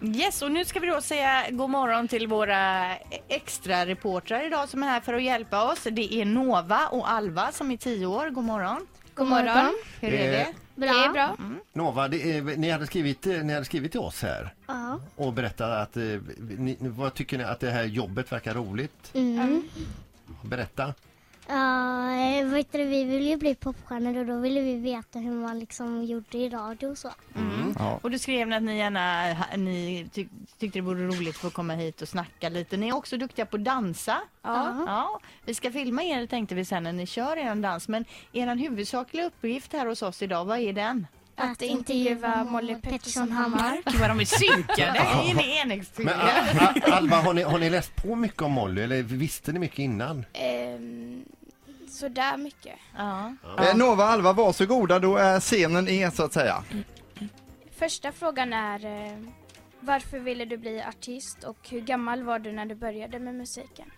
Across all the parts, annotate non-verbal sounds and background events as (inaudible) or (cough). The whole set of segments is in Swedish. Yes, och nu ska vi då säga god morgon till våra extra reportrar idag som är här för att hjälpa oss. Det är Nova och Alva som är 10 år. God morgon. God morgon. Hur Det är är- det? Bra. Det är bra. Nova, det är, ni, hade skrivit, eh, ni hade skrivit till oss här Ja. och berättat att, eh, ni, vad tycker ni att det här jobbet verkar roligt? Mm. Berätta. Ja, eh, vad heter det, vi ville ju bli popstjärnor och då ville vi veta hur man liksom gjorde i radio och så. Ja. Och du skrev att ni gärna ha- ni tyck, tyckte det vore roligt för att komma hit och snacka lite. Ni är också duktiga på att dansa. Ja. Ja, vi ska filma er tänkte vi sen när ni kör er dans. Men er huvudsakliga uppgift här hos oss idag, vad är den? Att intervjua Molly Pettersson Hammar. Gud vad de är (laughs) synkade. Nej, är ni enäggstvillingar? Men, a, a, Alva, har ni, har ni läst på mycket om Molly eller visste ni mycket innan? Ehm, sådär mycket. Ja. Eh, Nova och Alva, varsågoda, då är scenen er så att säga. Första frågan är eh, varför ville du bli artist och hur gammal var du när du började med musiken?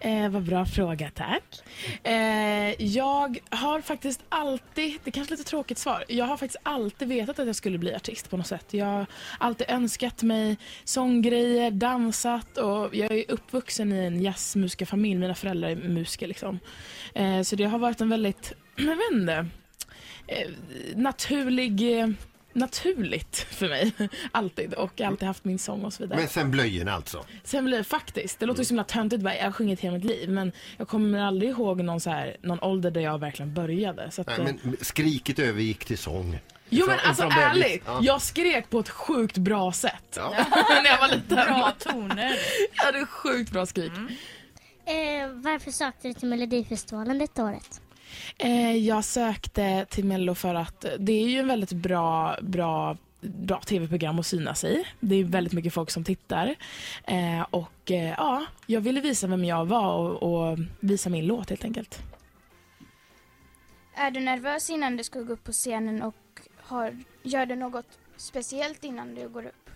Eh, vad bra fråga, tack. Eh, jag har faktiskt alltid, det kanske är lite tråkigt svar, jag har faktiskt alltid vetat att jag skulle bli artist på något sätt. Jag har alltid önskat mig sånggrejer, dansat och jag är uppvuxen i en jazzmusikerfamilj. Mina föräldrar är musiker liksom. Eh, så det har varit en väldigt, (clears throat) jag vet inte, eh, naturlig eh, naturligt för mig. (laughs) Alltid. Och jag har alltid haft min sång och så vidare. Men sen blöjorna alltså. Sen blir det faktiskt, det låter ju så himla töntigt bara, jag har sjungit hela mitt liv men jag kommer aldrig ihåg någon, så här, någon ålder där jag verkligen började. Så att, Nej, eh, men skriket övergick till sång. jo Från- men alltså från bebis. ärligt, Ja. jag skrek på ett sjukt bra sätt. Ja. (laughs) När jag var liten. Bra toner. Mm. Jag hade sjukt bra skrik. Eh, varför sökte du till Melodifestivalen detta året? Eh, jag sökte till Mello för att det är ju en väldigt bra, bra bra tv-program att synas i. Det är väldigt mycket folk som tittar. Eh, och eh, ja, jag ville visa vem jag var och, och visa min låt helt enkelt. Är du nervös innan du ska gå upp på scenen och har, gör du något speciellt innan du går upp?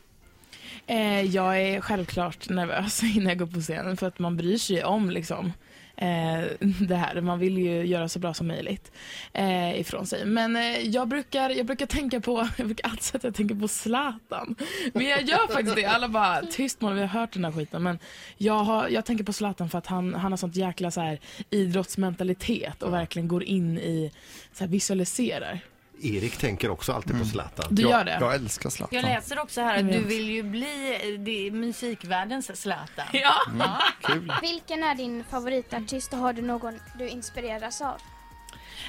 Eh, jag är självklart nervös (laughs) innan jag går på scenen för att man bryr sig om liksom, eh, det här. Man vill ju göra så bra som möjligt eh, ifrån sig. Men eh, jag, brukar, jag brukar tänka på, (laughs) jag brukar alltid säga att jag tänker på Zlatan. Men jag gör faktiskt det. Alla bara tyst man, vi har hört den här skiten. Men jag, har, jag tänker på Zlatan för att han, han har sånt jäkla så här, idrottsmentalitet och verkligen går in i, så här, visualiserar. Erik tänker också alltid på Zlatan. Du jag, gör det? Jag älskar Zlatan. Jag läser också här Jag att vet. du vill ju bli eh, det, musikvärldens Zlatan. (laughs) Ja. Kul. Vilken är din favoritartist och har du någon du inspireras av?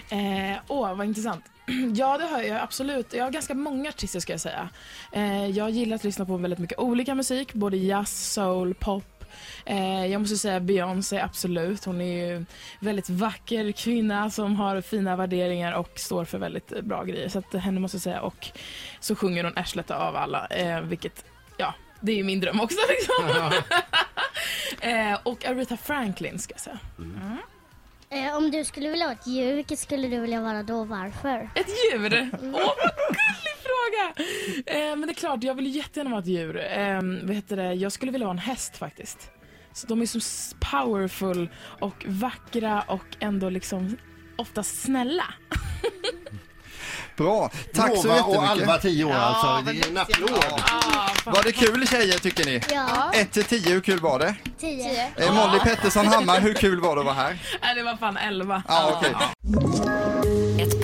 Eh, åh, vad intressant. (clears throat) Ja, det har jag absolut. Jag har ganska många artister ska jag säga. Eh, jag gillar att lyssna på väldigt mycket olika musik, både jazz, soul, pop. Eh, jag måste säga Beyoncé, absolut. Hon är ju väldigt vacker kvinna som har fina värderingar och står för väldigt eh, bra grejer. Så att henne måste jag säga. Och så sjunger hon Ärslet av alla, eh, vilket, ja, det är ju min dröm också liksom. eh, och Aretha Franklin ska jag säga. Eh, om du skulle vilja vara ett djur, vilket skulle du vilja vara då och varför? Ett djur? Åh, vad gullig fråga! Eh, men det är klart, jag vill ju jättegärna vara ett djur. Eh, vad heter det? Jag skulle vilja vara en häst faktiskt. Så de är så s- powerful och vackra och ändå liksom ofta (laughs) snälla. Bra. Tack så Nova och jättemycket. Alva, 10 år Ja, alltså. vad Det är en duktiga. applåd. Var det kul tjejer tycker ni? Ja, 1 till 10, hur kul var det? tio. Tio. Eh, Molly Pettersson Hammar, hur kul var det att vara här? Nej, det var fan elva. Ja, okej. Ett